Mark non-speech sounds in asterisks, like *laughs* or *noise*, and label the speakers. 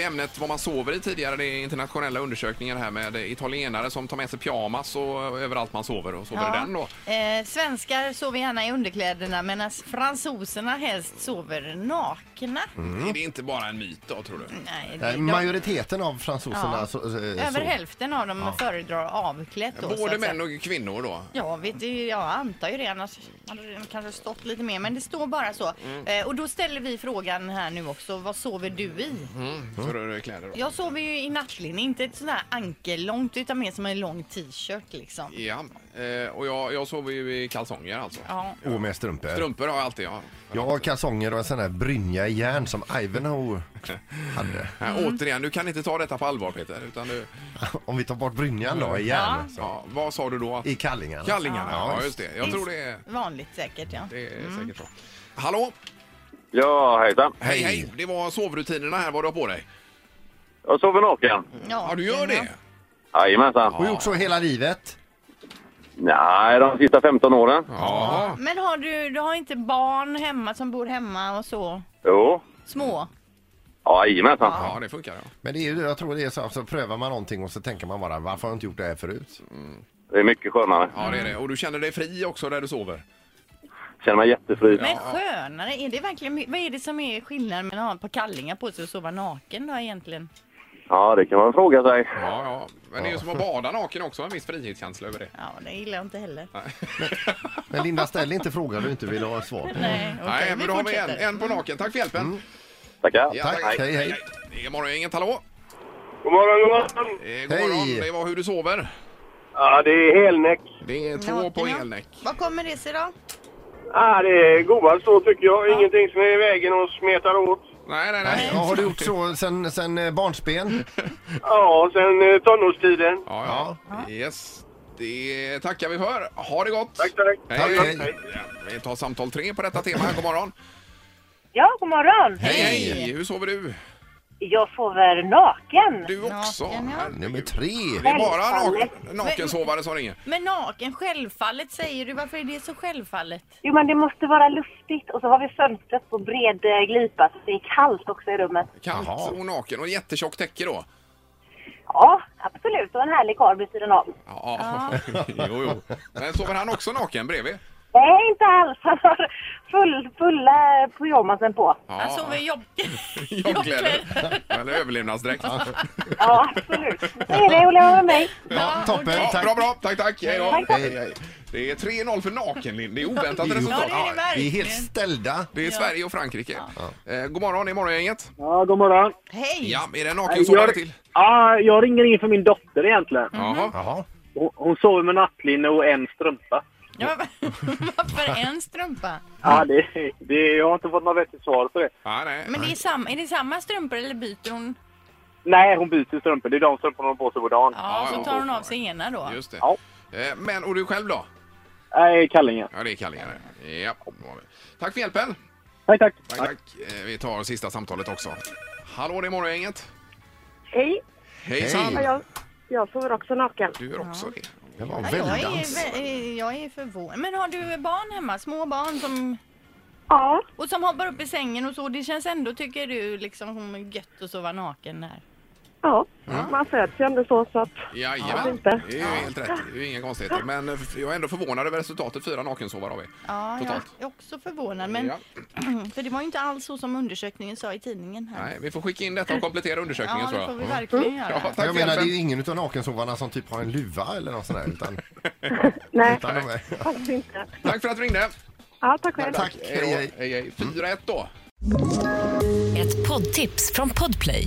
Speaker 1: ämnet vad man sover i tidigare. Det är internationella undersökningar här med italienare som tar med sig pyjamas och överallt man sover och sover i den då.
Speaker 2: Eh, svenskar sover gärna i underkläderna medan fransoserna helst sover nakna.
Speaker 1: Är det inte bara en myt då tror du?
Speaker 2: Nej, det-
Speaker 3: Nej,
Speaker 2: de-
Speaker 3: Majoriteten av fransoserna
Speaker 2: Ja.
Speaker 3: så, eh,
Speaker 2: över
Speaker 3: så-
Speaker 2: hälften av dem föredrar avklätt. Då, så
Speaker 1: Både
Speaker 2: att säga.
Speaker 1: män och kvinnor då?
Speaker 2: Ja, vet du, jag antar ju det. Annars hade det kanske stått lite mer. Men det står bara så.
Speaker 1: Mm.
Speaker 2: Eh, och då ställer vi frågan här nu också. Vad sover du i?
Speaker 1: Mm. För kläder då?
Speaker 2: Jag sover ju i nattlinne. Inte ett sånt här ankellångt utan mer som en lång t-shirt liksom.
Speaker 1: Ja, eh, och jag, jag sover ju i kalsonger alltså.
Speaker 2: Ja.
Speaker 3: Och med strumpor.
Speaker 1: Strumpor har jag alltid. Ja.
Speaker 3: Jag har kalsonger och en sån där brynja i järn som Ivanhoe *laughs* hade.
Speaker 1: Äh, Återigen, du kan inte ta detta på allvar Peter. Utan du,
Speaker 3: Om vi tar bort brynjan då i järn.
Speaker 1: ja, vad sa du då? att-
Speaker 3: I kallingarna.
Speaker 1: Kallingarna,
Speaker 3: Ja,
Speaker 1: ja just det. Jag tror det är,
Speaker 2: Vanligt säkert, ja.
Speaker 1: det är säkert så. Hallå!
Speaker 4: Ja, hejsan.
Speaker 1: Hej, hej! Det var sovrutinerna här, vad du har på dig.
Speaker 4: Jag sover naken.
Speaker 1: Ja, du gör det?
Speaker 4: Jajamensan.
Speaker 3: Och gjort så hela livet.
Speaker 4: Nej, de sista 15 åren.
Speaker 1: Ja.
Speaker 2: Men har du, du har inte barn hemma som bor hemma och så?
Speaker 4: Jo.
Speaker 2: Små?
Speaker 4: Ja, jajamensan.
Speaker 1: Ja, det funkar ja.
Speaker 3: Men det är ju, jag tror det är så, så prövar man någonting och så tänker man bara varför har jag inte gjort det här förut?
Speaker 4: Det är mycket skönare.
Speaker 1: Ja, det är det. Och du känner dig fri också där du sover?
Speaker 4: Känner mig jättefri.
Speaker 2: Men skönare, är det verkligen, my- vad är det som är skillnaden mellan att ha ett par kallingar på sig och sova naken då egentligen?
Speaker 4: Ja, det kan man fråga sig.
Speaker 1: Ja, ja. Men det är ju som att bada naken också, en viss frihetskänsla *laughs* över det.
Speaker 2: Ja, det gillar jag inte heller.
Speaker 3: Men Linda ställ inte frågan du inte vill ha svar på.
Speaker 2: Nej, okej,
Speaker 1: Nej, men
Speaker 2: vi
Speaker 1: då har vi en,
Speaker 2: fortsätter.
Speaker 1: en på naken. Tack för hjälpen!
Speaker 4: Tackar.
Speaker 1: Ja,
Speaker 3: Mm, Tack, hej, hej.
Speaker 1: Det är morgongänget, hallå!
Speaker 4: God morgon, god morgon.
Speaker 1: Eh, god
Speaker 3: Hej.
Speaker 1: morgon, det var hur du sover.
Speaker 4: Ja, det är helnäck.
Speaker 1: Det är två
Speaker 2: Naken,
Speaker 1: på
Speaker 2: ja.
Speaker 1: elnäck.
Speaker 2: Vad kommer det sig då?
Speaker 4: Ja, det är godast så tycker jag. Ingenting som är i vägen och smetar åt.
Speaker 1: Nej, nej, nej.
Speaker 3: Ja, har du gjort så sen, sen eh, barnsben?
Speaker 4: Ja, sen eh, tonårstiden.
Speaker 1: Ja, ja. Yes. Det tackar vi för. Ha det gott!
Speaker 4: Tack, tack.
Speaker 3: Tack,
Speaker 1: hej.
Speaker 3: hej.
Speaker 1: Ja, Vi tar samtal tre på detta tema. God morgon!
Speaker 5: Ja, god morgon.
Speaker 1: Hej,
Speaker 3: Hej.
Speaker 1: hej! Hur sover du?
Speaker 5: Jag sover naken.
Speaker 1: Du också?
Speaker 2: Naken, ja.
Speaker 1: Herregud.
Speaker 3: Nummer tre.
Speaker 1: Det är bara nak-
Speaker 5: Självfallet.
Speaker 1: nakensovare som ringer.
Speaker 2: Men naken, självfallet säger du. Varför är det så självfallet?
Speaker 5: Jo, men det måste vara luftigt. Och så har vi fönstret på bred eh, glipa så det är kallt också i rummet.
Speaker 1: Kallt
Speaker 3: Jaha.
Speaker 1: och naken och jättetjock täcke då.
Speaker 5: Ja, absolut. Och en härlig karl vid sidan av.
Speaker 1: Ja, *laughs* jo, jo. Men sover han också naken bredvid?
Speaker 5: Nej, inte alls. *laughs* Han har full, fulla pyjamasen på.
Speaker 1: Ja,
Speaker 2: Han sover i Alltså, jobb...
Speaker 1: *laughs* jobbkläder. Eller överlevnadsdräkt.
Speaker 5: Ja, absolut. Det är det att leva med mig.
Speaker 3: Ja, toppen,
Speaker 1: Ja,
Speaker 3: tack.
Speaker 1: bra, bra. Tack, tack. Hej då.
Speaker 5: Tack,
Speaker 3: tack.
Speaker 1: Hej, hej. Det är 3-0 för nakenlind. Det är oväntat
Speaker 3: Ja,
Speaker 1: resultat.
Speaker 2: det är det
Speaker 1: Ja,
Speaker 3: Vi är
Speaker 2: verkligen.
Speaker 3: helt ställda.
Speaker 1: det är Sverige och Frankrike. Eh, god morgon, det är morgongänget.
Speaker 6: Ja, god morgon.
Speaker 2: Hej!
Speaker 1: Ja, är det en
Speaker 6: jag,
Speaker 1: nakensovare till?
Speaker 6: ja, jag ringer in för min dotter egentligen.
Speaker 1: Jaha.
Speaker 3: Jaha.
Speaker 6: Hon, hon sover med nattlinne och en strumpa.
Speaker 2: Ja, *laughs* men- varför en strumpa?
Speaker 4: Mm.
Speaker 6: Ja, det, det, jag har inte fått något vettigt svar på det.
Speaker 1: Ja, nej.
Speaker 2: Men det är, sam, är det samma strumpor eller byter hon?
Speaker 6: Nej, hon byter strumpor. Det är de strumporna hon har på sig på dagen.
Speaker 2: Ja,
Speaker 1: Ja,
Speaker 2: så
Speaker 1: ja.
Speaker 2: tar hon av sig ena då.
Speaker 1: Just det.
Speaker 6: Ja.
Speaker 1: Eh, Men, och du själv då?
Speaker 6: Nej, kallingen.
Speaker 1: Ja, det är kallingar. Ja, det var det. Tack för hjälpen.
Speaker 6: Nej, tack.
Speaker 1: Tack, tack. Eh, Vi tar sista samtalet också. Hallå, det är morgongänget.
Speaker 5: Hej.
Speaker 1: Hejsan.
Speaker 3: Hej.
Speaker 5: Jag, jag sover också naken.
Speaker 1: Du gör också det.
Speaker 3: Det var
Speaker 2: Ja, jag, är,
Speaker 3: väldans.
Speaker 2: vä- eh, jag är förvånad. Men har du barn hemma? Små barn som,
Speaker 5: Ja,
Speaker 2: och som hoppar upp i sängen och så. Det känns ändå, tycker du, liksom hon är gött att sova naken där.
Speaker 5: ja. Man föds ju ändå så, så att...
Speaker 1: Jajamän, det
Speaker 5: Ja.
Speaker 1: är ju helt rätt. Det är ju inga konstigheter. Men eh, jag är ändå förvånad över resultatet. Fyra nakensovar har vi.
Speaker 2: Ja, jag
Speaker 1: Totalt.
Speaker 2: är också förvånad. Men,
Speaker 1: Ja.
Speaker 2: *clears throat* För det var ju inte alls så som undersökningen sa i tidningen här.
Speaker 1: Nej, vi får skicka in detta och komplettera undersökningen
Speaker 2: ja,
Speaker 1: tror
Speaker 2: det får
Speaker 1: jag. Mm.
Speaker 2: vi verkligen göra.
Speaker 1: Ja, tack
Speaker 3: Jag
Speaker 1: för
Speaker 3: menar det är
Speaker 1: hjälpen.
Speaker 3: ju ingen av nakensovarna som typ har en luva eller något sånt där utan,
Speaker 5: Nej,
Speaker 3: utan de är...
Speaker 5: faktiskt inte.
Speaker 1: Tack för att du ringde.
Speaker 5: Ja, tack själv.
Speaker 3: Tack,
Speaker 1: Hej,
Speaker 3: hej, hej.
Speaker 1: då. hej, hej. 4-1 då.
Speaker 7: Ett poddtips från Podplay.